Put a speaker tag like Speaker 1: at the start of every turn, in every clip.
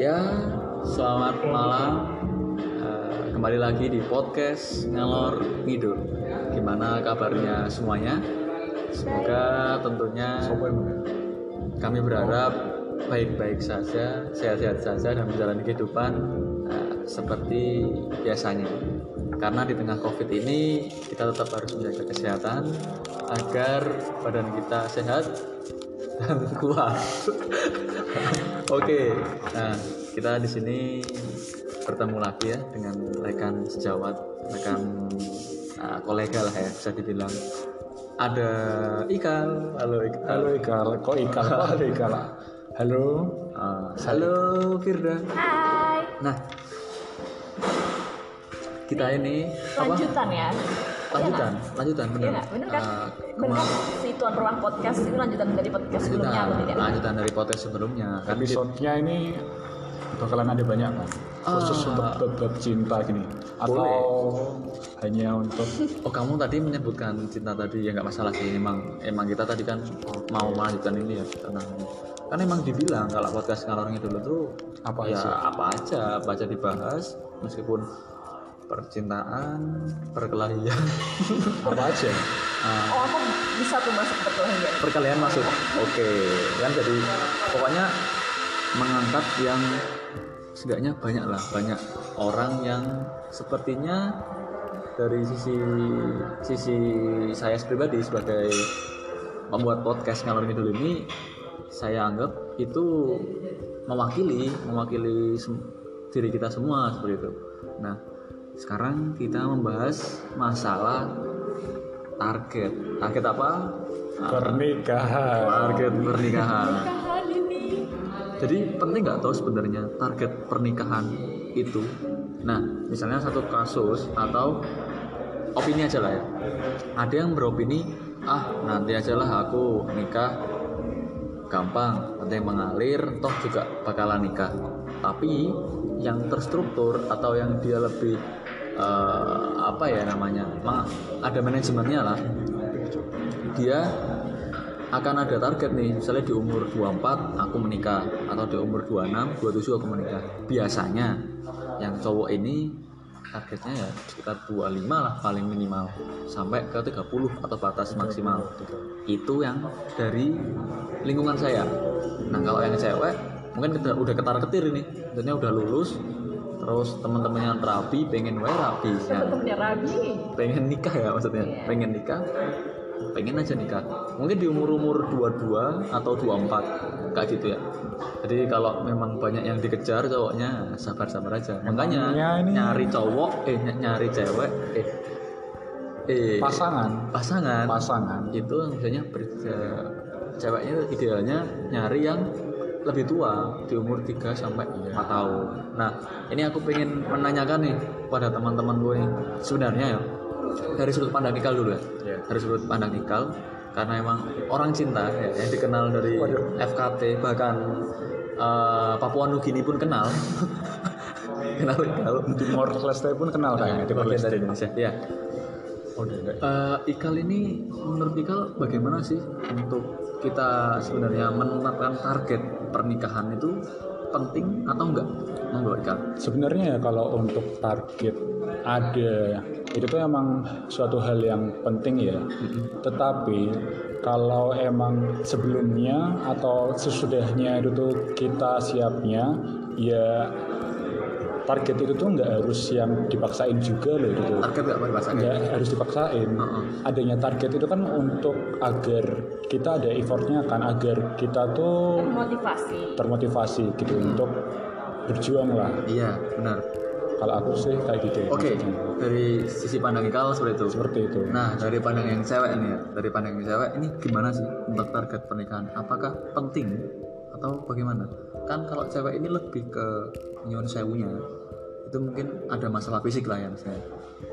Speaker 1: Ya, selamat malam. Eh, kembali lagi di podcast Ngalor Ngidul. Gimana kabarnya semuanya? Semoga tentunya kami berharap baik-baik saja, sehat-sehat saja dan menjalani kehidupan eh, seperti biasanya. Karena di tengah Covid ini kita tetap harus menjaga kesehatan agar badan kita sehat dan kuat. Oke, nah kita di sini bertemu lagi ya dengan rekan sejawat, rekan eh, kolega lah ya bisa dibilang. Ada Ikal, halo Ikal.
Speaker 2: Halo Ikal, kok Ikal? Kok ada Ikal? Halo,
Speaker 1: Ah, halo Firda.
Speaker 3: Hai.
Speaker 1: Nah, kita ini apa?
Speaker 3: Lanjutan ya.
Speaker 1: Lanjutan, lanjutan
Speaker 3: Iya
Speaker 1: benar.
Speaker 3: nggak? Bener kan?
Speaker 1: Ah,
Speaker 3: Bener kan?
Speaker 1: kemar-
Speaker 3: Si tuan ruang podcast itu lanjutan dari podcast sebelumnya
Speaker 1: lanjutan,
Speaker 3: atau
Speaker 4: kan?
Speaker 3: tidak?
Speaker 1: lanjutan dari podcast sebelumnya. Kan
Speaker 2: episode-nya ini bakalan ada banyak kan? Khusus
Speaker 1: Ah.
Speaker 2: untuk bab-bab cinta gini Atau hanya untuk
Speaker 1: Oh kamu tadi menyebutkan cinta tadi ya nggak masalah sih emang emang kita tadi kan mau melanjutkan ini ya tentang ini. kan emang dibilang kalau podcast ngalor dulu tuh
Speaker 2: Apa
Speaker 1: ya
Speaker 2: aja?
Speaker 1: apa aja apa aja dibahas meskipun percintaan perkelahian
Speaker 2: apa aja?
Speaker 1: Ah,
Speaker 3: Oh, aku bisa tuh masuk ke
Speaker 4: ya.
Speaker 3: perkelahian.
Speaker 1: perkalian masuk oke kan jadi pokoknya mengangkat yang setidaknya banyak lah banyak orang yang sepertinya dari sisi sisi saya pribadi sebagai membuat podcast ngalor ngidul ini saya anggap itu mewakili mewakili sem- diri kita semua seperti itu nah sekarang kita membahas masalah target target apa Ah,
Speaker 2: Pernikahan
Speaker 1: target pernikahan
Speaker 3: Pernikahan ini.
Speaker 1: jadi penting nggak tahu sebenarnya target pernikahan itu nah misalnya satu kasus atau opini aja lah ya ada yang beropini ah nanti ajalah aku nikah gampang nanti mengalir toh juga bakalan nikah tapi yang terstruktur atau yang dia lebih eh, apa ya namanya ma- ada manajemennya lah dia akan ada target nih misalnya di umur 24 aku menikah atau di umur 26 27 aku menikah biasanya yang cowok ini targetnya ya sekitar 25 lah paling minimal sampai ke 30 atau batas maksimal itu yang dari lingkungan saya nah kalau yang cewek mungkin udah, udah ketar ketir ini tentunya udah lulus terus teman-teman yang rapi pengen wae rapi ya
Speaker 3: Temennya Rabi.
Speaker 1: pengen nikah ya maksudnya
Speaker 3: Iya.
Speaker 1: pengen nikah pengen aja nikah mungkin di umur umur 22 atau 24 kayak gitu ya jadi kalau memang banyak yang dikejar cowoknya sabar sabar aja makanya
Speaker 2: Emangnya ini-
Speaker 1: nyari cowok eh ny- nyari cewek eh eh
Speaker 2: Pasangan
Speaker 1: pasangan
Speaker 2: Pasangan
Speaker 1: itu yang biasanya berja- ceweknya itu idealnya nyari yang lebih tua di umur 3 sampai 4 tahun. Nah, ini aku pengen menanyakan nih pada teman-teman gue nih. Sebenarnya ya dari sudut pandang Ikal dulu ya.
Speaker 2: Iya.
Speaker 1: Dari sudut pandang Ikal karena emang orang cinta ya, yang dikenal dari
Speaker 2: Waduh.
Speaker 1: FKT bahkan eh, Papua Nugini pun kenal. kenal Ikal.
Speaker 2: Timor Leste pun kenal kayaknya
Speaker 1: Bagian
Speaker 2: di
Speaker 1: Iya, dari
Speaker 2: Palestina
Speaker 1: Indonesia. Ya.
Speaker 2: Oh, enggak.
Speaker 1: Eh, Ikal ini menurut Ikal bagaimana sih untuk kita sebenarnya menetapkan target pernikahan itu penting atau enggak? Monggo Ikal.
Speaker 2: Sebenarnya ya kalau untuk target ada itu tuh emang suatu hal yang penting ya. Tetapi kalau emang sebelumnya atau sesudahnya itu tuh kita siapnya ya target itu tuh nggak harus yang dipaksain juga loh itu tuh.
Speaker 1: Target enggak pakai bahasa enggak?
Speaker 2: Nggak harus dipaksain.
Speaker 1: Heeh.
Speaker 2: Adanya target itu kan untuk agar kita ada effortnya kan agar kita tuh
Speaker 3: Motivasi.
Speaker 2: termotivasi gitu untuk berjuang lah
Speaker 1: Iya, benar.
Speaker 2: kalau aku sih kayak gitu ya
Speaker 1: Oke,
Speaker 2: maksudnya.
Speaker 1: dari sisi pandang Ikal seperti itu.
Speaker 2: seperti itu
Speaker 1: Nah, dari pandang yang cewek ini ya, dari pandang yang cewek ini gimana sih untuk target pernikahan? Apakah penting atau bagaimana? Kan kalau cewek ini lebih ke nyuwun sewunya itu mungkin ada masalah fisik lah ya misalnya.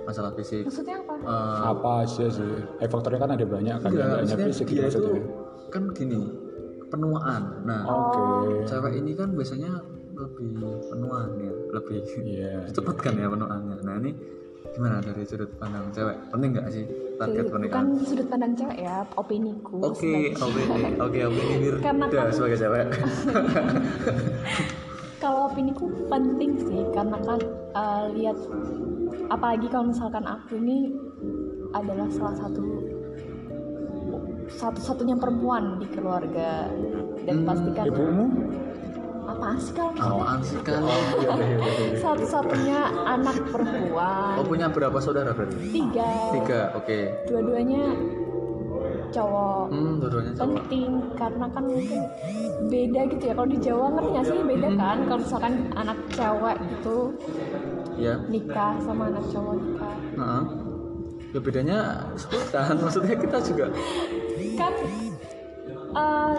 Speaker 1: Masalah fisik
Speaker 3: Maksudnya apa?
Speaker 1: eh,
Speaker 2: apa aja sih eh, faktornya kan ada banyak kan
Speaker 1: Enggak,
Speaker 2: nggak hanya
Speaker 1: Iya, maksudnya
Speaker 2: fisik gitu
Speaker 1: dia itu
Speaker 2: maksudnya
Speaker 1: kan gini penuaan. Nah,
Speaker 2: oke
Speaker 1: cewek ini kan biasanya lebih penuaan ya, lebih
Speaker 2: iya
Speaker 1: cepet kan ya penuaannya. Nah ini gimana dari sudut pandang cewek penting nggak sih target
Speaker 4: Jadi, bukan
Speaker 1: pernikahan
Speaker 4: sudut pandang cewek ya, opiniku.
Speaker 1: oke oh.
Speaker 4: sebagai-
Speaker 1: oke oke oke ini
Speaker 4: Karena
Speaker 1: Wirda
Speaker 4: kan-
Speaker 1: sebagai cewek
Speaker 4: Kalau opiniku penting sih, karena kan eh, lihat apalagi kalau misalkan aku ini adalah salah satu satu-satunya perempuan di keluarga dan
Speaker 1: Hmm,
Speaker 4: pastikan
Speaker 2: ibumu
Speaker 4: apa sih kalau misalkan
Speaker 1: apaan sih kalau
Speaker 2: ya udah,
Speaker 1: iya,
Speaker 2: ya udah, ya udah.
Speaker 4: satu-satunya anak perempuan
Speaker 1: oh punya berapa saudara berarti
Speaker 4: tiga,
Speaker 1: tiga oke
Speaker 4: dua-duanya cowok
Speaker 1: hmm dua-duanya cowok
Speaker 4: penting karena kan mungkin beda gitu ya kalau di Jawa ngerti nggak sih beda kan kalau misalkan anak cewek itu
Speaker 1: ya
Speaker 4: nikah sama anak cowok nikah
Speaker 1: Heeh. ya bedanya sebutan maksudnya kita juga
Speaker 4: kan eh,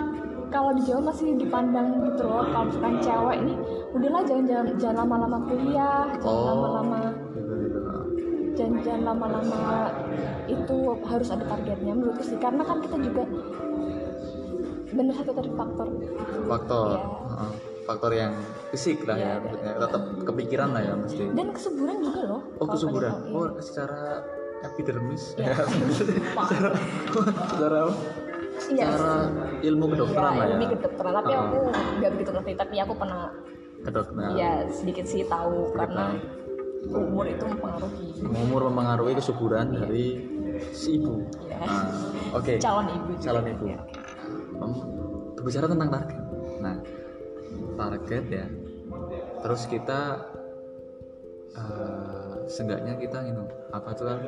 Speaker 4: kalau di Jawa masih dipandang gitu loh kalau misalkan cewek ini udahlah jangan jangan jangan lama-lama kuliah jangan
Speaker 1: Oh.
Speaker 4: lama-lama
Speaker 1: gitu, gitu.
Speaker 4: jangan jangan lama-lama itu harus ada targetnya menurutku sih karena kan kita juga bener satu tadi faktor
Speaker 1: faktor
Speaker 4: Iya.
Speaker 1: heeh. faktor yang fisik lah ya
Speaker 4: Iya.
Speaker 1: maksudnya tetap kepikiran lah ya mesti
Speaker 4: dan kesuburan juga loh
Speaker 1: oh
Speaker 4: kalau
Speaker 1: kesuburan
Speaker 4: pada
Speaker 1: oh
Speaker 4: tahun
Speaker 1: secara epidermis
Speaker 4: Iya.
Speaker 1: ya secara secara
Speaker 4: ini. Iya.
Speaker 1: secara ilmu kedokteran lah
Speaker 4: ya,
Speaker 1: ya
Speaker 4: ini kedokteran tapi
Speaker 1: Heeh.
Speaker 4: aku nggak begitu ngerti tapi aku pernah
Speaker 1: kedokteran
Speaker 4: ya sedikit sih tahu
Speaker 1: Ah. Sedikit
Speaker 4: karena umur itu mempengaruhi
Speaker 1: umur mempengaruhi kesuburan dari si ibu
Speaker 4: Iya.
Speaker 1: Nah, oke
Speaker 4: calon ibu juga.
Speaker 1: calon ibu
Speaker 4: Ya.
Speaker 1: Mem- berbicara tentang target nah target ya terus kita eh, seenggaknya kita ini apa tuh kan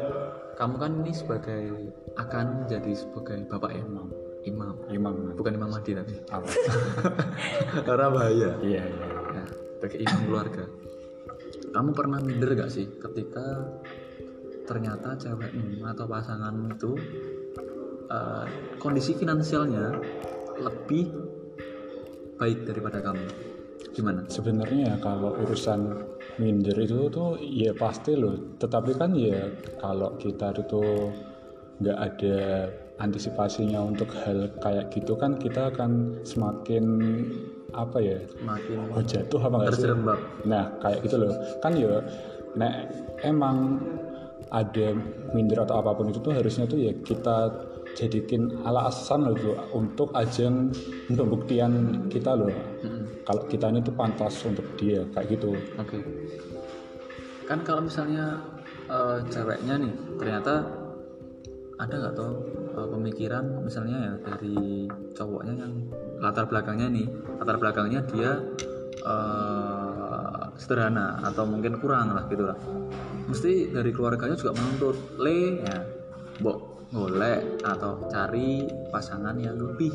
Speaker 1: kamu kan ini sebagai akan menjadi sebagai bapak ya
Speaker 2: Imam.
Speaker 1: imam
Speaker 2: imam
Speaker 1: bukan imam mahdi tapi
Speaker 2: Apa?
Speaker 1: karena bahaya
Speaker 2: iya iya
Speaker 1: ya, sebagai imam keluarga kamu pernah minder gak sih ketika ternyata cewekmu atau pasanganmu itu eh, kondisi finansialnya lebih baik daripada kamu gimana
Speaker 2: sebenarnya ya kalau urusan minder itu tuh ya pasti loh tetapi kan ya kalau kita itu nggak ada antisipasinya untuk hal kayak gitu kan kita akan semakin apa ya
Speaker 1: makin
Speaker 2: oh jatuh apa nggak sih
Speaker 1: terjerembab
Speaker 2: Nah, kayak gitu loh. Kan ya nek emang ada minder atau apapun itu tuh harusnya tuh ya kita jadikan alasan loh tuh untuk ajang pembuktian kita loh.
Speaker 1: Mm-mm.
Speaker 2: Kalau kita ini tuh pantas untuk dia kayak gitu.
Speaker 1: Oke. Kan kalau misalnya eh, ceweknya nih ternyata ada nggak tuh eh, pemikiran misalnya ya dari cowoknya yang latar belakangnya nih latar belakangnya dia eh, sederhana atau mungkin kurang lah gitu lah. Mesti dari keluarganya juga menuntut le ya, mbok golek atau cari pasangan yang lebih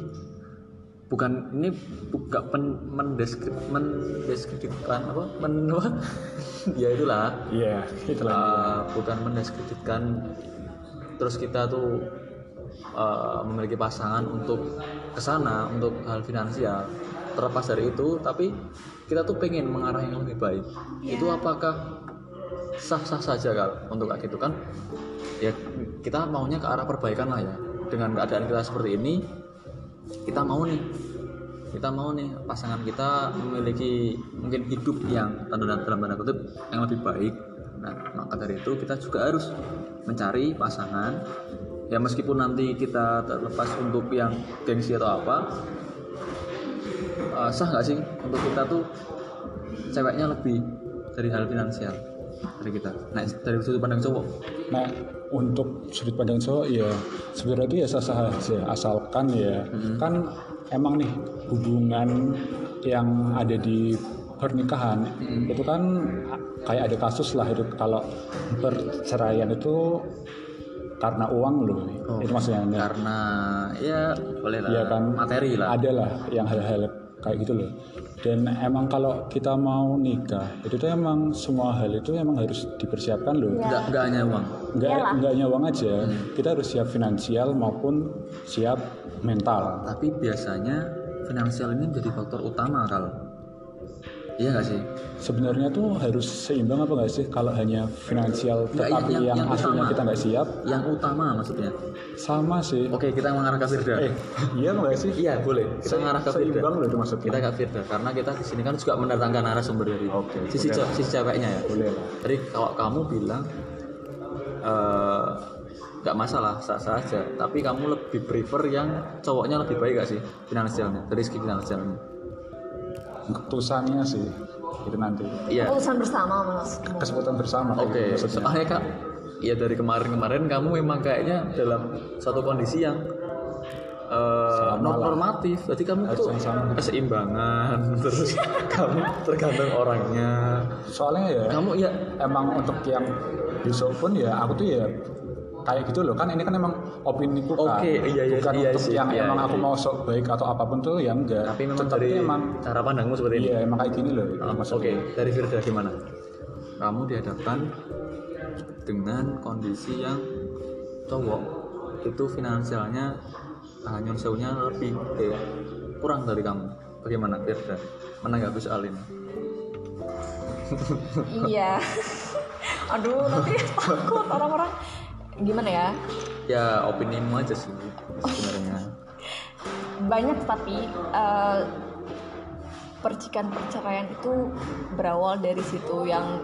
Speaker 1: bukan ini bukan pen, mendeskrip mendeskripsikan apa men apa? ya itulah
Speaker 2: Iya, itulah.
Speaker 1: Eh, bukan mendeskripsikan terus kita tuh eh, memiliki pasangan untuk kesana untuk hal finansial terlepas dari itu tapi kita tuh pengen mengarah yang lebih baik itu apakah sah-sah saja kalau untuk kayak gitu kan ya kita maunya ke arah perbaikan lah ya dengan keadaan kita seperti ini kita mau nih kita mau nih pasangan kita memiliki mungkin hidup yang tanda dalam tanda kutip yang lebih baik nah maka dari itu kita juga harus mencari pasangan ya meskipun nanti kita terlepas untuk yang gengsi atau apa eh, sah nggak sih untuk kita tuh ceweknya lebih dari hal finansial dari kita nah dari sudut pandang cowok
Speaker 2: Nah, untuk sudut pandang cowok ya sebenarnya itu ya sah-sah aja asalkan ya
Speaker 1: Hmm.
Speaker 2: kan emang nih hubungan yang ada di pernikahan
Speaker 1: Hmm.
Speaker 2: itu kan a- kayak ada kasus lah itu kalau perceraian itu karena uang loh
Speaker 1: Oh,
Speaker 2: itu maksudnya ya.
Speaker 1: karena ya boleh lah
Speaker 2: Iya kan.
Speaker 1: materi lah
Speaker 2: ada lah yang hal-hal kayak gitu loh dan emang kalau kita mau nikah itu tuh emang semua hal itu emang harus dipersiapkan loh
Speaker 1: nggak nggak hanya uang
Speaker 2: nggak
Speaker 4: Iyalah.
Speaker 2: nggak hanya uang aja ya. kita harus siap finansial maupun siap mental
Speaker 1: tapi biasanya finansial ini menjadi faktor utama kalau iya nggak sih
Speaker 2: sebenarnya tuh harus seimbang apa nggak sih kalau hanya finansial
Speaker 1: Nggak,
Speaker 2: tetapi
Speaker 1: yang-
Speaker 2: yang,
Speaker 1: yang
Speaker 2: aslinya
Speaker 1: utama.
Speaker 2: kita nggak siap
Speaker 1: yang utama maksudnya
Speaker 2: sama sih
Speaker 1: oke kita mengarah ke Firda
Speaker 2: eh iya nggak sih
Speaker 1: iya boleh kita
Speaker 2: Se-
Speaker 1: mengarah ke Firda
Speaker 2: seimbang loh itu maksudnya
Speaker 1: kita ke Firda karena kita di sini kan juga mendatangkan narasumber dari
Speaker 2: Oke,
Speaker 1: sisi
Speaker 2: boleh
Speaker 1: ce- sisi ceweknya ya
Speaker 2: boleh lah
Speaker 1: jadi kalau kamu bilang eh, nggak masalah sah sah aja tapi kamu lebih prefer yang cowoknya lebih baik gak sih finansialnya dari segi finansialnya
Speaker 2: keputusannya sih itu nanti
Speaker 1: iya
Speaker 3: Urusan bersama maksudmu.
Speaker 2: kesempatan bersama
Speaker 1: oke
Speaker 2: gitu maksudnya
Speaker 1: soalnya kak ya dari kemarin-kemarin kamu memang kayaknya dalam satu kondisi yang eh,
Speaker 2: Sama
Speaker 1: non
Speaker 2: lah.
Speaker 1: normatif jadi kamu
Speaker 2: Harus
Speaker 1: tuh
Speaker 2: yang sama.
Speaker 1: keseimbangan terus kamu tergantung orangnya
Speaker 2: soalnya ya
Speaker 1: kamu ya
Speaker 2: emang untuk yang besok pun ya aku tuh ya kayak gitu loh kan ini kan emang opini ku kan
Speaker 1: Oke, iya, iya,
Speaker 2: bukan
Speaker 1: iya
Speaker 2: untuk
Speaker 1: sih,
Speaker 2: yang
Speaker 1: iya,
Speaker 2: emang
Speaker 1: iya.
Speaker 2: aku mau sok baik atau apapun tuh ya enggak
Speaker 1: tapi memang
Speaker 2: Tetapi
Speaker 1: dari
Speaker 2: emang
Speaker 1: cara pandangmu seperti ini
Speaker 2: iya emang kayak gini loh
Speaker 1: Ah, Oke,
Speaker 2: maksudnya
Speaker 1: dari Firda gimana? Kamu dihadapkan dengan kondisi yang cowok itu finansialnya ah, nyun sewunya lebih eh, kurang dari kamu. Bagaimana Firda menanggapi soal ini?
Speaker 3: Iya.
Speaker 4: Aduh, nanti takut orang-orang gimana ya?
Speaker 1: Ya opini mu aja sih sebenarnya.
Speaker 4: Banyak tapi eh, percikan perceraian itu berawal dari situ yang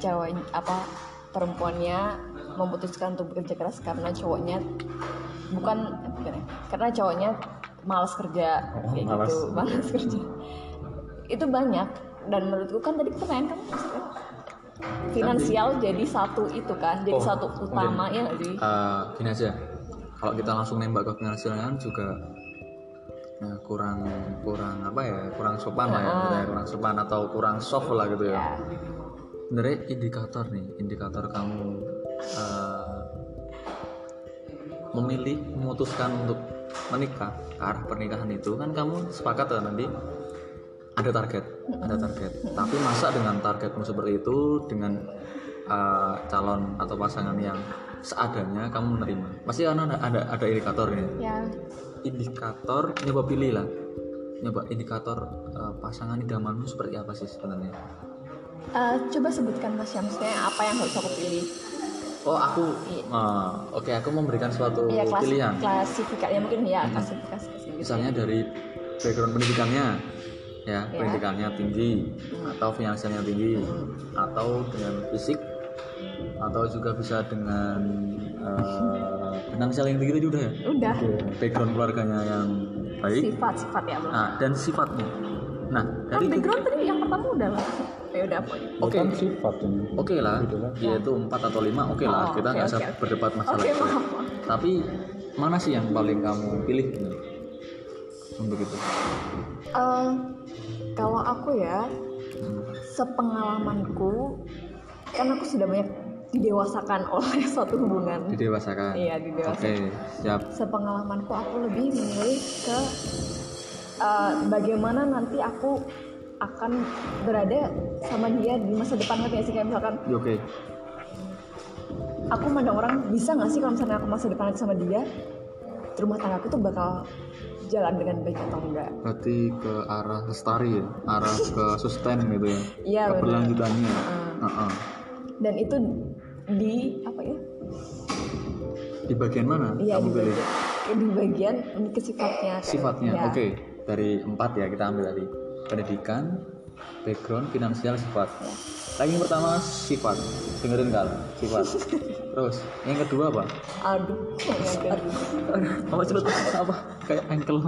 Speaker 4: cewek apa perempuannya memutuskan untuk bekerja keras karena cowoknya bukan bukan ya, karena cowoknya malas kerja
Speaker 1: Oh,
Speaker 4: kayak
Speaker 1: malas.
Speaker 4: gitu malas kerja itu banyak dan menurutku kan tadi kita main kan finansial jadi satu itu kan jadi
Speaker 1: Oh,
Speaker 4: satu utama ya nggak sih?
Speaker 1: Eh, gini aja, kalau kita langsung nembak ke finansialnya juga nah, kurang kurang apa ya kurang sopan lah ya, maksudnya kurang sopan atau kurang soft lah gitu ya.
Speaker 4: Ya.
Speaker 1: sebenarnya indikator nih indikator kamu eh, memilih memutuskan untuk menikah ke arah pernikahan itu kan kamu sepakat lah nanti ada target ada target tapi masa dengan targetmu seperti itu dengan eh, calon atau pasangan yang seadanya kamu menerima pasti kan ada ada, ada indikator ini
Speaker 4: ya
Speaker 1: indikator nyoba pilih lah nyoba indikator eh, pasangan idamanmu seperti apa sih sebenarnya
Speaker 4: Eh, coba sebutkan mas Syamsnya apa yang harus aku pilih
Speaker 1: Oh aku, eh, oke aku memberikan suatu
Speaker 4: ya
Speaker 1: Oh,
Speaker 4: klas,
Speaker 1: pilihan. Mhm.
Speaker 4: klasifikasinya mungkin ya klasifikasi gitu.
Speaker 1: Misalnya dari background pendidikannya, ya
Speaker 4: Ya.
Speaker 1: pendidikannya tinggi, atau finansialnya tinggi, atau dengan fisik, atau juga bisa dengan eh, finansial yang tinggi itu juga ya.
Speaker 4: udah
Speaker 1: Background keluarganya yang baik,
Speaker 4: sifat sifat ya belum
Speaker 1: nah, dan sifatnya. Nah
Speaker 4: kan
Speaker 1: dari
Speaker 4: background tadi yang pertama udah lah ya udah apa ya
Speaker 1: oke.
Speaker 2: bukan sifat ini
Speaker 1: Oke lah,
Speaker 2: Gitu lah.
Speaker 1: yaitu empat atau lima, oke lah,
Speaker 4: Oh,
Speaker 1: kita
Speaker 4: oke,
Speaker 1: nggak
Speaker 4: oke,
Speaker 1: usah
Speaker 4: oke.
Speaker 1: berdebat masalah
Speaker 4: Oke,
Speaker 1: itu. ya.
Speaker 4: maaf, maaf.
Speaker 1: Tapi mana sih yang paling kamu pilih ini? untuk itu?
Speaker 4: Eh, kalau aku ya sepengalamanku kan aku sudah banyak didewasakan oleh suatu hubungan
Speaker 1: Didewasakan.
Speaker 4: Iya, didewasakan.
Speaker 1: Oke, siap.
Speaker 4: sepengalamanku aku lebih memilih ke eh, bagaimana nanti aku akan berada sama dia di masa depan ngerti nggak sih kayak misalkan
Speaker 1: Ya, Oke.
Speaker 4: aku mandang orang bisa nggak sih kalau misalnya aku masa depan nanti sama dia rumah tangga aku tuh bakal jalan dengan baik atau enggak
Speaker 1: Berarti ke arah lestari ya, arah ke sustain gitu ya.
Speaker 4: Iya, benar. Ah.
Speaker 1: Keberlanjutannya. Heeh.
Speaker 4: dan itu di apa ya
Speaker 1: Di bagian mana
Speaker 4: Iya
Speaker 1: kamu
Speaker 4: di
Speaker 1: pilih?
Speaker 4: bagian eh, di bagian ini ke sifatnya
Speaker 1: Sifatnya.
Speaker 4: Ya.
Speaker 1: Oke, dari empat ya kita ambil tadi. Pendidikan, background, finansial, sifat.
Speaker 4: Iya.
Speaker 1: Lagi yang pertama sifat. Dengerin kal, sifat. Terus yang kedua apa?
Speaker 4: aduh yang kedua,
Speaker 1: apa celut apa kayak ankle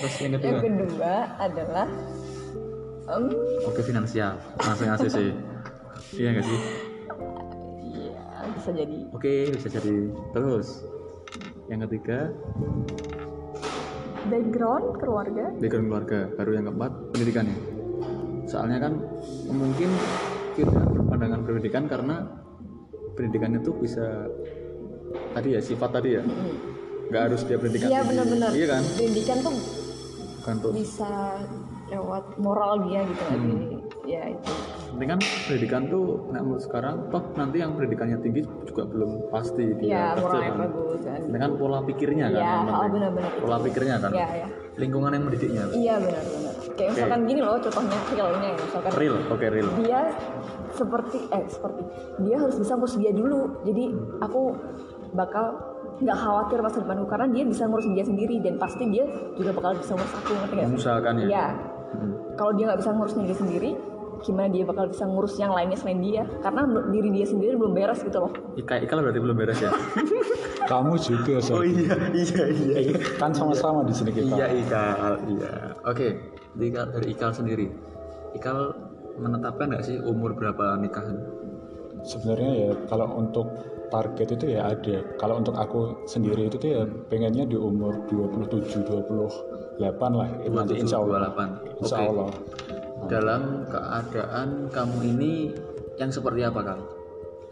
Speaker 1: terus yang
Speaker 4: yang
Speaker 1: kedua
Speaker 4: kedua adalah em,
Speaker 1: oke finansial langsung ACC iya nggak sih
Speaker 4: ya bisa jadi
Speaker 1: oke bisa jadi terus yang ketiga
Speaker 4: background keluarga
Speaker 1: background keluarga baru yang keempat pendidikannya soalnya kan mungkin kita berpandangan pendidikan karena pendidikan itu bisa tadi ya sifat tadi ya nggak harus dia pendidikan
Speaker 4: iya
Speaker 1: tinggi.
Speaker 4: benar-benar
Speaker 1: iya kan
Speaker 4: pendidikan tuh
Speaker 1: bukan tuh
Speaker 4: bisa lewat moral dia gitu
Speaker 1: Hmm.
Speaker 4: lah jadi ya itu
Speaker 1: penting kan pendidikan tuh nah, menurut sekarang toh nanti yang pendidikannya tinggi juga belum pasti
Speaker 4: ya
Speaker 1: dia kerja
Speaker 4: moralnya
Speaker 1: kan
Speaker 4: bagus kan
Speaker 1: Ini kan pola pikirnya kan
Speaker 4: Iya,
Speaker 1: yang penting.
Speaker 4: oh, benar-benar.
Speaker 1: pola pikirnya kan
Speaker 4: ya ya
Speaker 1: lingkungan yang mendidiknya
Speaker 4: iya benar-benar kayak misalkan gini loh contohnya realnya ya misalkan
Speaker 1: real oke real
Speaker 4: dia seperti eh seperti dia harus bisa ngurus dia dulu jadi aku bakal nggak khawatir masa depanku karena dia bisa ngurus dia sendiri dan pasti dia juga bakal bisa ngurus aku ngerti nggak sih?
Speaker 1: mengusahakan ya
Speaker 4: Iya.
Speaker 1: Hmm.
Speaker 4: kalau dia nggak bisa ngurusnya dia sendiri gimana dia bakal bisa ngurus yang lainnya selain dia karena menurut diri dia sendiri belum beres gitu loh
Speaker 1: Ika, Ika berarti belum beres ya?
Speaker 2: Kamu juga Sat.
Speaker 1: iya, iya, iya.
Speaker 2: Eh, kan sama-sama di sini kita.
Speaker 1: Iya Ikal, iya. Oke, dari Ikal, dari Ikal sendiri, Ikal menetapkan nggak sih umur berapa nikahan?
Speaker 2: Sebenarnya ya kalau untuk target itu ya ada. Kalau untuk aku sendiri itu tuh ya pengennya di umur 27 28 lah nanti
Speaker 1: 27,
Speaker 2: insya Allah.
Speaker 1: 28.
Speaker 2: Insya
Speaker 1: Oke.
Speaker 2: Allah.
Speaker 1: Dalam keadaan kamu ini yang seperti apa Kal?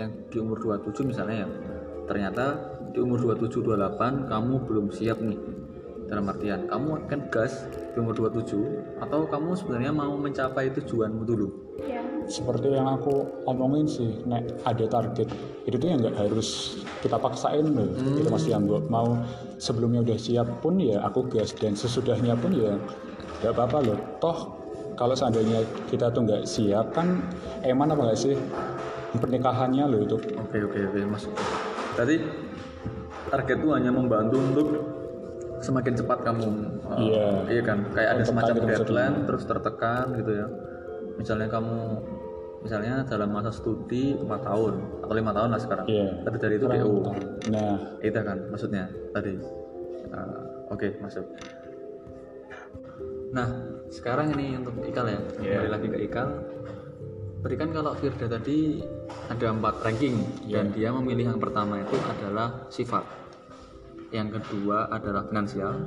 Speaker 1: Yang di umur 27 misalnya ya, ternyata di umur 27 28 kamu belum siap nih. Dalam artian kamu akan gas di umur 27 atau kamu sebenarnya mau mencapai tujuanmu dulu?
Speaker 2: Seperti yang aku omongin sih, nek ada target itu tuh ya nggak harus kita paksain loh.
Speaker 1: Hmm.
Speaker 2: Itu masih yang gua mau sebelumnya udah siap pun ya aku gas dan sesudahnya pun ya nggak apa-apa loh. Toh kalau seandainya kita tuh nggak siap kan eman apa nggak sih pernikahannya loh itu
Speaker 1: Oke oke oke mas. Tadi target itu hanya membantu untuk semakin cepat kamu. uh,
Speaker 2: Iya.
Speaker 1: Iya kan. Kayak ada
Speaker 2: Untuk
Speaker 1: semacam
Speaker 2: target maksudnya.
Speaker 1: deadline terus tertekan gitu ya. Misalnya kamu misalnya dalam masa studi 4 tahun atau lima tahun lah sekarang.
Speaker 2: Iya.
Speaker 1: Tapi dari itu
Speaker 2: Kurang
Speaker 1: DO.
Speaker 2: tahu. Nah,
Speaker 1: Itu kan maksudnya tadi. Uh, oke masuk. Nah sekarang ini untuk Ikal ya.
Speaker 2: Iya.
Speaker 1: Kembali lagi ke Ikal. Berikan kalau Firda tadi ada empat ranking dan dia memilih yang pertama itu adalah sifat, yang kedua adalah finansial,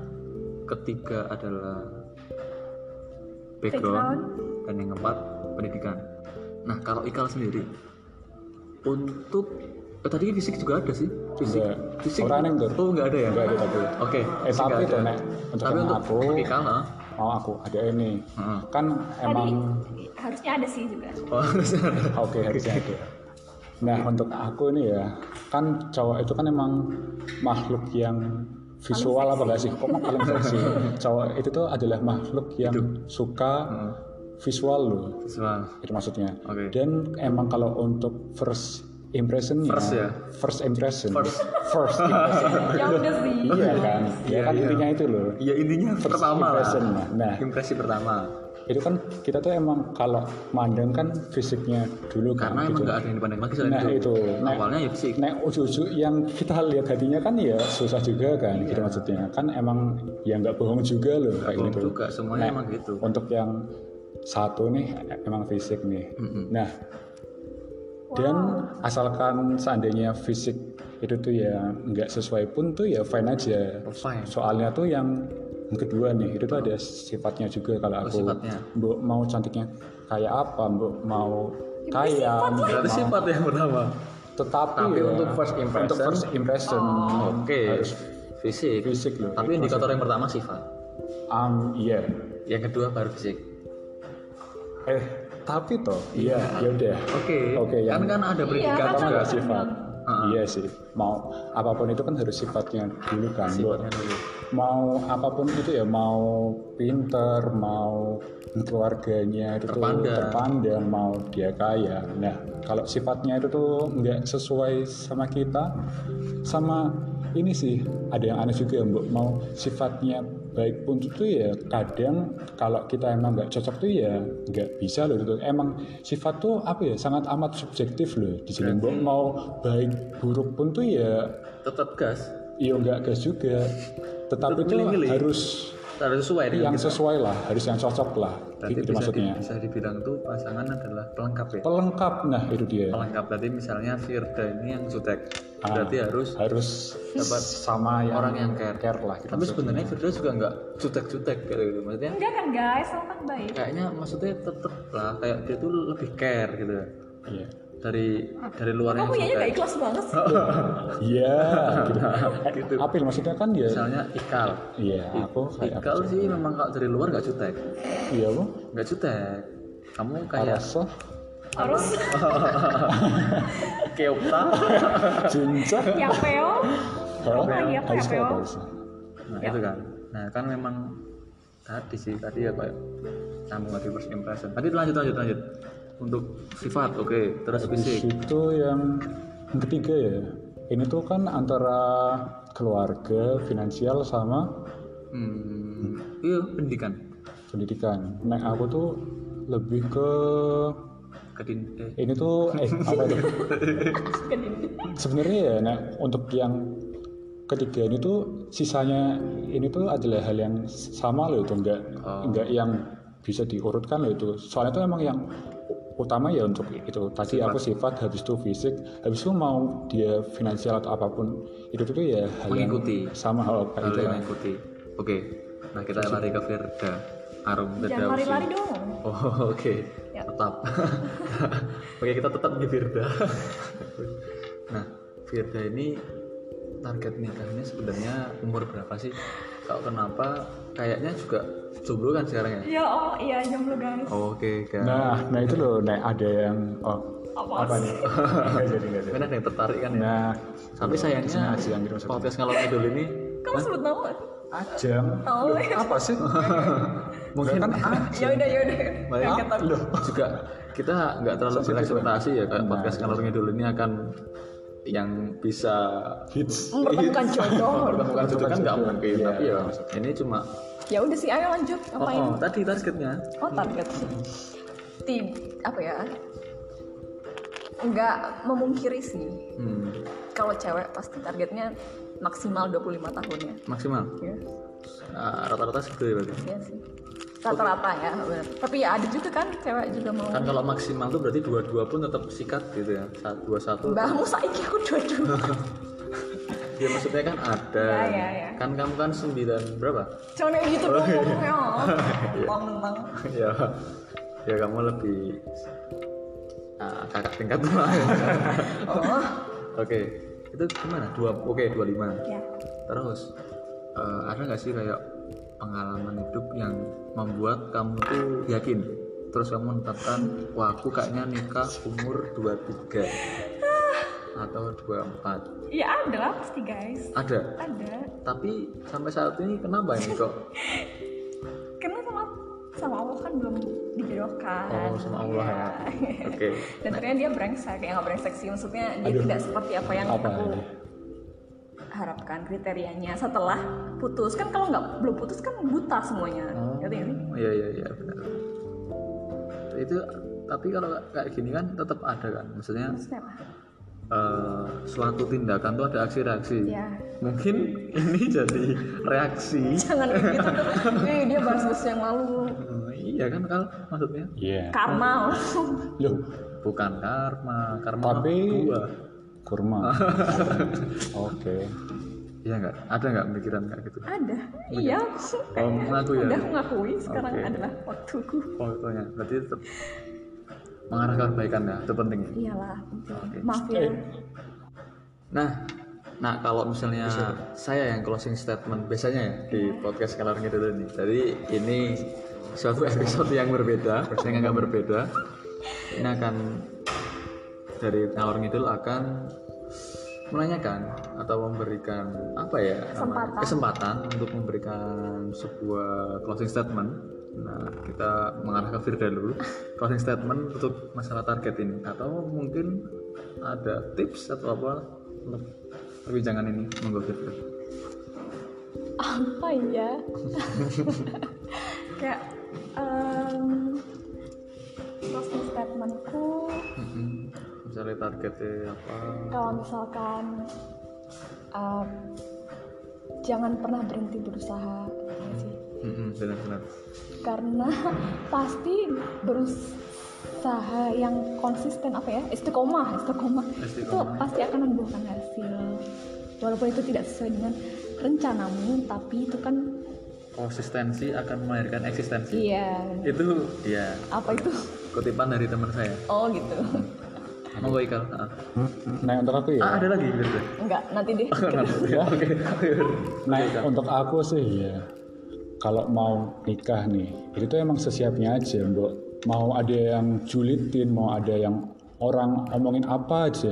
Speaker 1: ketiga adalah background, dan yang keempat pendidikan. Nah kalau Ikal sendiri untuk eh, tadi fisik juga ada sih fisik
Speaker 2: Enggak.
Speaker 1: fisik
Speaker 2: Orang yang enggak.
Speaker 1: oh nggak ada ya
Speaker 2: enggak ada tapi.
Speaker 1: oke
Speaker 2: Eh,
Speaker 1: fisik
Speaker 2: tapi
Speaker 1: nggak ada.
Speaker 2: tuh, Nek, untuk
Speaker 1: tapi
Speaker 2: yang
Speaker 1: untuk
Speaker 2: aku-
Speaker 1: untuk Ikal ah.
Speaker 2: mau aku ada ini.
Speaker 1: Heeh.
Speaker 2: Kan emang
Speaker 3: harusnya ada sih juga
Speaker 1: oh,
Speaker 2: Oke harusnya ada. Nah
Speaker 1: Iya.
Speaker 2: untuk aku ini ya kan cowok itu kan emang makhluk yang visual apa nggak sih? Kok paling seksi? cowok itu tuh adalah makhluk yang suka visual loh.
Speaker 1: visual
Speaker 2: Itu maksudnya.
Speaker 1: Hmm. Oke.
Speaker 2: Dan emang kalau untuk first impression
Speaker 1: First ya?
Speaker 2: First impression.
Speaker 1: First.
Speaker 2: First impression.
Speaker 4: ya udah sih
Speaker 2: iya kan?
Speaker 1: Iya,
Speaker 2: Ya kan
Speaker 1: iya.
Speaker 2: intinya itu loh.
Speaker 1: ya intinya
Speaker 2: First
Speaker 1: pertama lah
Speaker 2: impression, nah.
Speaker 1: impresi pertama
Speaker 2: Itu kan kita tuh emang kalau mandang kan fisiknya dulu kan
Speaker 1: karena emang
Speaker 2: gitu.
Speaker 1: nggak ada yang dipandang lagi selain
Speaker 2: Nah,
Speaker 1: itu
Speaker 2: itu. Nah.
Speaker 1: awalnya ya fisik
Speaker 2: Nek ujuk-ujuk yang kita lihat hatinya kan ya susah juga kan gitu maksudnya kan emang ya nggak bohong juga loh kayak
Speaker 1: Iya. Bohong
Speaker 2: gitu.
Speaker 1: juga semuanya
Speaker 2: Nah,
Speaker 1: emang gitu
Speaker 2: Untuk yang satu nih emang fisik nih.
Speaker 1: Mm-mm.
Speaker 2: Nah dan asalkan seandainya fisik itu tuh ya nggak sesuai pun tuh ya fine aja.
Speaker 1: Fine.
Speaker 2: Soalnya tuh yang kedua nih itu tuh ada sifatnya juga kalau
Speaker 1: Oh,
Speaker 2: aku
Speaker 1: sifatnya.
Speaker 2: Mbok mau cantiknya kayak apa, Mbok mau gitu. kaya, Mbok
Speaker 1: berarti
Speaker 2: mau-
Speaker 1: sifat yang pertama
Speaker 2: tetapi
Speaker 1: Tapi
Speaker 2: ya,
Speaker 1: untuk first impression-
Speaker 2: untuk first impression oh,
Speaker 1: oke
Speaker 2: harus
Speaker 1: fisik
Speaker 2: fisik loh
Speaker 1: tapi indikator yang pertama sifat
Speaker 2: um, iya
Speaker 1: yang kedua baru fisik
Speaker 2: eh tapi toh iya ya udah
Speaker 1: oke
Speaker 2: Oke,
Speaker 1: kan
Speaker 2: yang-
Speaker 1: kan ada pendidikan
Speaker 2: pertama
Speaker 1: juga
Speaker 2: nggak sifat iya sih mau apapun itu kan harus sifatnya dulu kan Bu.
Speaker 1: sifatnya dulu
Speaker 2: mau apapun itu ya mau pinter mau keluarganya itu tuh
Speaker 1: Terpandang.
Speaker 2: terpandang mau dia kaya nah kalau sifatnya itu tuh nggak sesuai sama kita sama ini sih ada yang aneh juga mbak mau sifatnya baik pun itu ya kadang kalau kita emang nggak cocok tuh ya nggak bisa loh itu emang sifat tuh apa ya sangat amat subjektif loh di sini mbak mau baik buruk pun tuh ya
Speaker 1: tetap gas
Speaker 2: Iya nggak gas juga, tetapi itu
Speaker 1: Milih-milih.
Speaker 2: harus
Speaker 1: harus sesuai dengan
Speaker 2: yang sesuai lah, harus yang cocok lah,
Speaker 1: Berarti
Speaker 2: gitu
Speaker 1: bisa, di-
Speaker 2: maksudnya.
Speaker 1: bisa dibilang tuh pasangan adalah pelengkap ya.
Speaker 2: Pelengkap, nah itu dia.
Speaker 1: Pelengkap tadi misalnya Firda ini yang jutek.
Speaker 2: Ah,
Speaker 1: Berarti harus
Speaker 2: harus
Speaker 1: dapat
Speaker 2: sama yang
Speaker 1: orang yang care.
Speaker 2: care lah. gitu
Speaker 1: Tapi
Speaker 2: maksudnya.
Speaker 1: sebenarnya Firda juga nggak jutek-jutek kayak gitu. Maksudnya
Speaker 3: enggak kan guys lo kan baik
Speaker 1: kayaknya maksudnya tetep lah kayak dia tuh lebih care gitu.
Speaker 2: Iya,
Speaker 1: Dari dari luarnya
Speaker 4: kamu kayaknya gak ikhlas banget sih
Speaker 2: Iya, gitu. Eh, Apil maksudnya kan ya,
Speaker 1: Misalnya Ikal.
Speaker 2: iya aku kayak
Speaker 1: Ikal sih memang kalau dari luar nggak jutek.
Speaker 2: iya bu,
Speaker 1: Nggak jutek. Kamu kayak
Speaker 2: Arasa,
Speaker 3: harus
Speaker 1: keopta.
Speaker 2: Jinjak,
Speaker 3: yang peo
Speaker 2: Hah?
Speaker 3: lagi apa
Speaker 2: harus
Speaker 3: ya,
Speaker 2: kayak
Speaker 3: Pel?
Speaker 2: Arasa.
Speaker 1: Nah, itu kan. Nah, kan memang tadi sih tadi ya kayak nyambung lagi first impression. Tadi lanjut lanjut lanjut. Untuk sifat, oke, terus
Speaker 2: Habis
Speaker 1: fisik.
Speaker 2: itu yang ketiga ya. Ini tuh kan antara keluarga, finansial sama
Speaker 1: Hmm, iya, pendidikan.
Speaker 2: pendidikan. Nek aku tuh lebih ke
Speaker 1: Kedin eh,
Speaker 2: ini tuh eh, apa itu? Sebenarnya ya Nek, untuk yang ketiga ini tuh sisanya ini tuh adalah hal yang sama loh itu enggak
Speaker 1: Oh.
Speaker 2: enggak yang bisa diurutkan loh itu. Soalnya itu emang yang utama ya untuk itu tadi
Speaker 1: Sifat.
Speaker 2: aku sifat habis itu fisik habis itu mau dia finansial atau apapun itu tuh ya hal yang
Speaker 1: Mengikuti.
Speaker 2: sama hal kayak
Speaker 1: Hal
Speaker 2: itu
Speaker 1: yang
Speaker 2: kan.
Speaker 1: mengikuti. Oke. Nah, kita lari ke Firda. Arum Firda.
Speaker 3: Jangan lari-lari dong.
Speaker 1: Oh, oke.
Speaker 3: Ya.
Speaker 1: Tetap. oke, kita tetap di Firda. nah, Firda ini target nikahnya sebenarnya umur berapa sih? Kalau kenapa kayaknya juga jomblo kan sekarang ya?
Speaker 3: Ya Allah, iya jomblo guys.
Speaker 1: Oke, kan.
Speaker 2: nah nah itu loh Nek, ada yang oh
Speaker 3: Apa
Speaker 2: apa
Speaker 3: sih?
Speaker 2: nih Nggak jadi nggak jadi
Speaker 1: Kan ada yang tertarik kan ya?
Speaker 2: nah
Speaker 1: Tapi sayangnya
Speaker 2: aja yang kirim
Speaker 1: podcast ngalor ngidul ini
Speaker 3: Kamu sebut nama?
Speaker 2: ajeng
Speaker 3: Oh, iya.
Speaker 2: apa sih
Speaker 1: mungkin
Speaker 2: kan
Speaker 3: Ya udah, ya udah.
Speaker 1: Baik. juga kita nggak terlalu berekspektasi ya kayak podcast ngalor ngidul ini akan yang bisa
Speaker 2: hits
Speaker 4: merupakan jodoh
Speaker 1: bukan itu kan nggak
Speaker 2: jodoh.
Speaker 1: mungkin
Speaker 2: Iya.
Speaker 1: tapi ya ini cuma
Speaker 4: ya udah sih ayo lanjut
Speaker 1: oh,
Speaker 4: ngapain
Speaker 1: oh, tadi targetnya
Speaker 4: Oh target Tid apa ya? Nggak memungkiri sih.
Speaker 1: hmm,
Speaker 4: Kalau cewek pasti targetnya maksimal 25 tahun ya.
Speaker 1: maksimal
Speaker 4: Ya,
Speaker 1: Ah, rata-rata segitu ya berarti
Speaker 4: iya sih. Rata-rata ya. benar. Tapi ya ada juga kan cewek juga mau.
Speaker 1: kan kalau maksimal tuh berarti dua-dua pun tetap sikat gitu ya satu dua satu
Speaker 4: Mbahmu saiki aku dua-dua.
Speaker 1: ya maksudnya kan ada
Speaker 3: Ya, ya, ya.
Speaker 1: kan kamu kan sembilan berapa
Speaker 4: Cuman kayak gitu dong ngomongnya. Tong tentang
Speaker 1: ya ya kamu lebih ah, kakak tingkat lah
Speaker 4: oh.
Speaker 1: Oke, itu gimana? Dua, oke 25
Speaker 3: Ya.
Speaker 1: Terus eh, ada nggak sih kayak pengalaman hidup yang membuat kamu tuh yakin? Terus kamu menetapkan, wah aku kayaknya nikah umur 23 atau 24
Speaker 3: Ya ada lah pasti guys.
Speaker 1: Ada,
Speaker 3: Ada.
Speaker 1: tapi sampai saat ini kenapa ini kok?
Speaker 3: Karena sama sama Allah kan belum dijodohkan.
Speaker 1: Oh sama Allah ya.
Speaker 3: Iya.
Speaker 1: Oke,
Speaker 4: Dan ternyata dia brengsek, ya nggak brengsek sih maksudnya dia
Speaker 2: Aduh.
Speaker 4: tidak seperti apa yang
Speaker 2: Apa
Speaker 4: aku
Speaker 2: ini?
Speaker 4: harapkan kriterianya setelah putus kan kalau nggak belum putus kan buta semuanya, ngerti nggak sih?
Speaker 1: Oh, iya iya iya benar. Itu tapi kalau kayak gini kan tetap ada kan, maksudnya
Speaker 4: Maksudnya apa?
Speaker 1: eh, suatu tindakan tuh ada aksi-reaksi.
Speaker 4: Ya.
Speaker 1: Mungkin ini jadi reaksi.
Speaker 4: Jangan kayak gitu dong. Wih, dia bahas bahas yang malu.
Speaker 1: Eh, iya kan kal maksudnya
Speaker 2: iya
Speaker 4: Karma.
Speaker 2: loh
Speaker 1: bukan karma, karma
Speaker 2: Tapi-
Speaker 1: buah.
Speaker 2: kurma oke
Speaker 1: Iya nggak? Ada nggak pikiran kayak gitu?
Speaker 4: Ada. Iya.
Speaker 1: Kalau mengaku ya.
Speaker 4: Udah aku ngakui sekarang
Speaker 1: Oke.
Speaker 4: adalah waktuku.
Speaker 1: Oh, itu ya. Berarti tetap mengarah ke kebaikan ya, itu penting.
Speaker 4: Iyalah.
Speaker 1: Oke.
Speaker 4: Maaf ya.
Speaker 2: Eh.
Speaker 1: Nah, nah kalau misalnya saya yang closing statement biasanya ya di podcast kalian gitu dulu nih. Jadi ini suatu episode yang berbeda, yang agak berbeda. Ini akan dari ngalor ngidul akan menanyakan atau memberikan apa ya namanya?
Speaker 4: Kesempatan.
Speaker 1: kesempatan untuk memberikan sebuah closing statement. Nah, kita mengarah ke Firda dulu. Closing statement untuk masalah target ini atau mungkin ada tips atau apa untuk perbincangan ini monggo Firda.
Speaker 4: Apa ya?
Speaker 3: Kayak em closing statementku
Speaker 1: Mm-mm. Misalnya targetnya apa?
Speaker 4: Kalau misalkan uh, jangan pernah berhenti berusaha. ya sih.
Speaker 1: Mm-mm, Benar-benar.
Speaker 4: karena pasti berusaha yang konsisten apa ya istiqomah istiqomah itu
Speaker 1: Istiqomah.
Speaker 4: pasti akan membuahkan hasil walaupun itu tidak sesuai dengan rencanamu tapi itu kan
Speaker 1: Konsistensi akan melahirkan eksistensi.
Speaker 4: iya
Speaker 1: Itu ya
Speaker 4: apa itu
Speaker 1: kutipan dari teman saya.
Speaker 4: oh gitu
Speaker 1: Monggo Ikal. Ah,
Speaker 2: nah untuk aku ya
Speaker 1: Ah, ada lagi Firda.
Speaker 4: enggak nanti deh
Speaker 1: Ya, Oke.
Speaker 2: Nah,
Speaker 1: Iya,
Speaker 2: untuk aku sih ya, kalau mau nikah nih, itu tuh emang sesiapnya aja, Mbok. Mau ada yang julitin, mau ada yang orang omongin apa aja.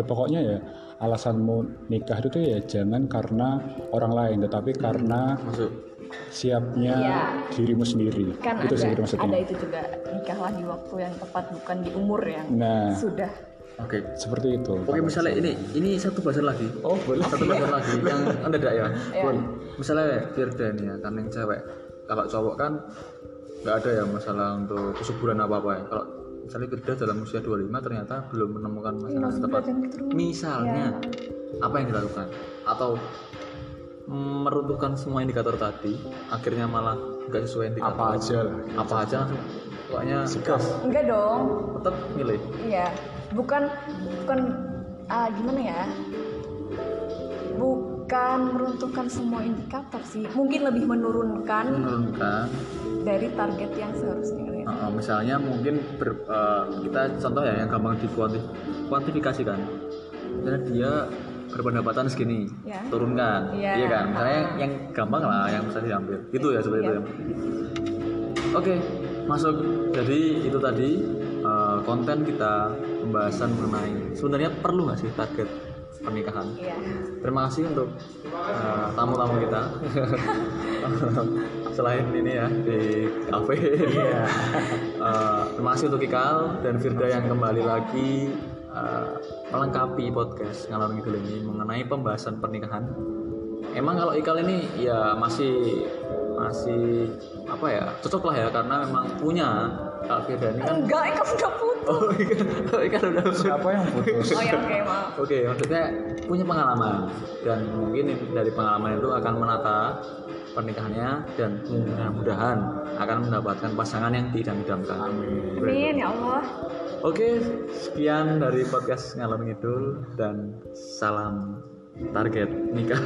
Speaker 2: Eh, pokoknya ya, alasanmu nikah itu tuh ya jangan karena orang lain, tetapi karena
Speaker 1: Masuk.
Speaker 2: siapnya
Speaker 4: Iya.
Speaker 2: dirimu sendiri.
Speaker 4: kan
Speaker 2: itu sih
Speaker 4: ada
Speaker 2: itu maksudnya.
Speaker 4: ada itu juga nikahlah di waktu yang tepat bukan di umur yang
Speaker 2: Nah,
Speaker 4: sudah
Speaker 1: Oke.
Speaker 2: seperti itu.
Speaker 1: Oke, misalnya ini ini satu buzzer lagi.
Speaker 2: Oh, boleh. Iya.
Speaker 1: Satu buzzer lagi yang anda ya.
Speaker 4: ya
Speaker 1: Misalnya Firda nih ya, kan yang cewek. Kalau cowok kan nggak ada ya masalah untuk kesuburan apa apa ya kalau misalnya kerja dalam usia 25 ternyata belum menemukan masalah yang
Speaker 3: langsung
Speaker 1: tepat
Speaker 3: belajar terus.
Speaker 1: misalnya apa yang dilakukan atau meruntuhkan semua indikator tadi akhirnya malah nggak sesuai indikator
Speaker 2: apa aja lah
Speaker 1: apa aja langsung pokoknya
Speaker 2: sikap
Speaker 4: enggak dong
Speaker 1: tetap milih
Speaker 4: Iya, bukan bukan ah, gimana ya? Bukan meruntuhkan semua indikator sih, mungkin lebih menurunkan
Speaker 1: menurunkan
Speaker 4: dari target yang seharusnya.
Speaker 2: Ah.
Speaker 1: Uh, misalnya mungkin ber- uh, kita contoh ya yang gampang dikuantifikasikan misalnya dia berpendapatan segini
Speaker 4: Ya.
Speaker 1: turunkan
Speaker 4: Iya.
Speaker 1: iya kan misalnya yang, yang gampang lah yang bisa diambil itu ya seperti itu
Speaker 4: Iya.
Speaker 1: ya. oke masuk jadi itu tadi uh, konten kita pembahasan mengenai sebenarnya perlu nggak sih target pernikahan
Speaker 4: Iya.
Speaker 1: Terima kasih untuk uh, tamu-tamu kita. Selain ini ya di kafe. Uh, terima kasih untuk Kikal dan Firda yang kembali lagi uh, melengkapi podcast ngalor ngidul ini mengenai pembahasan pernikahan. Emang kalau Ikal ini ya masih masih apa ya cocok lah ya karena memang punya kalau Firda ini kan
Speaker 4: Enggak, eh, kamu udah putus.
Speaker 1: oh Ikal, Ikal udah
Speaker 2: siapa yang putus
Speaker 4: Oh ya, oke maaf.
Speaker 1: Oke, maksudnya punya pengalaman dan mungkin dari pengalaman itu akan menata pernikahannya dan mudah-mudahan akan mendapatkan pasangan yang diidam-idamkan.
Speaker 4: Amin ya Allah.
Speaker 1: Oke, sekian dari podcast ngalor ngidul dan salam target nikah.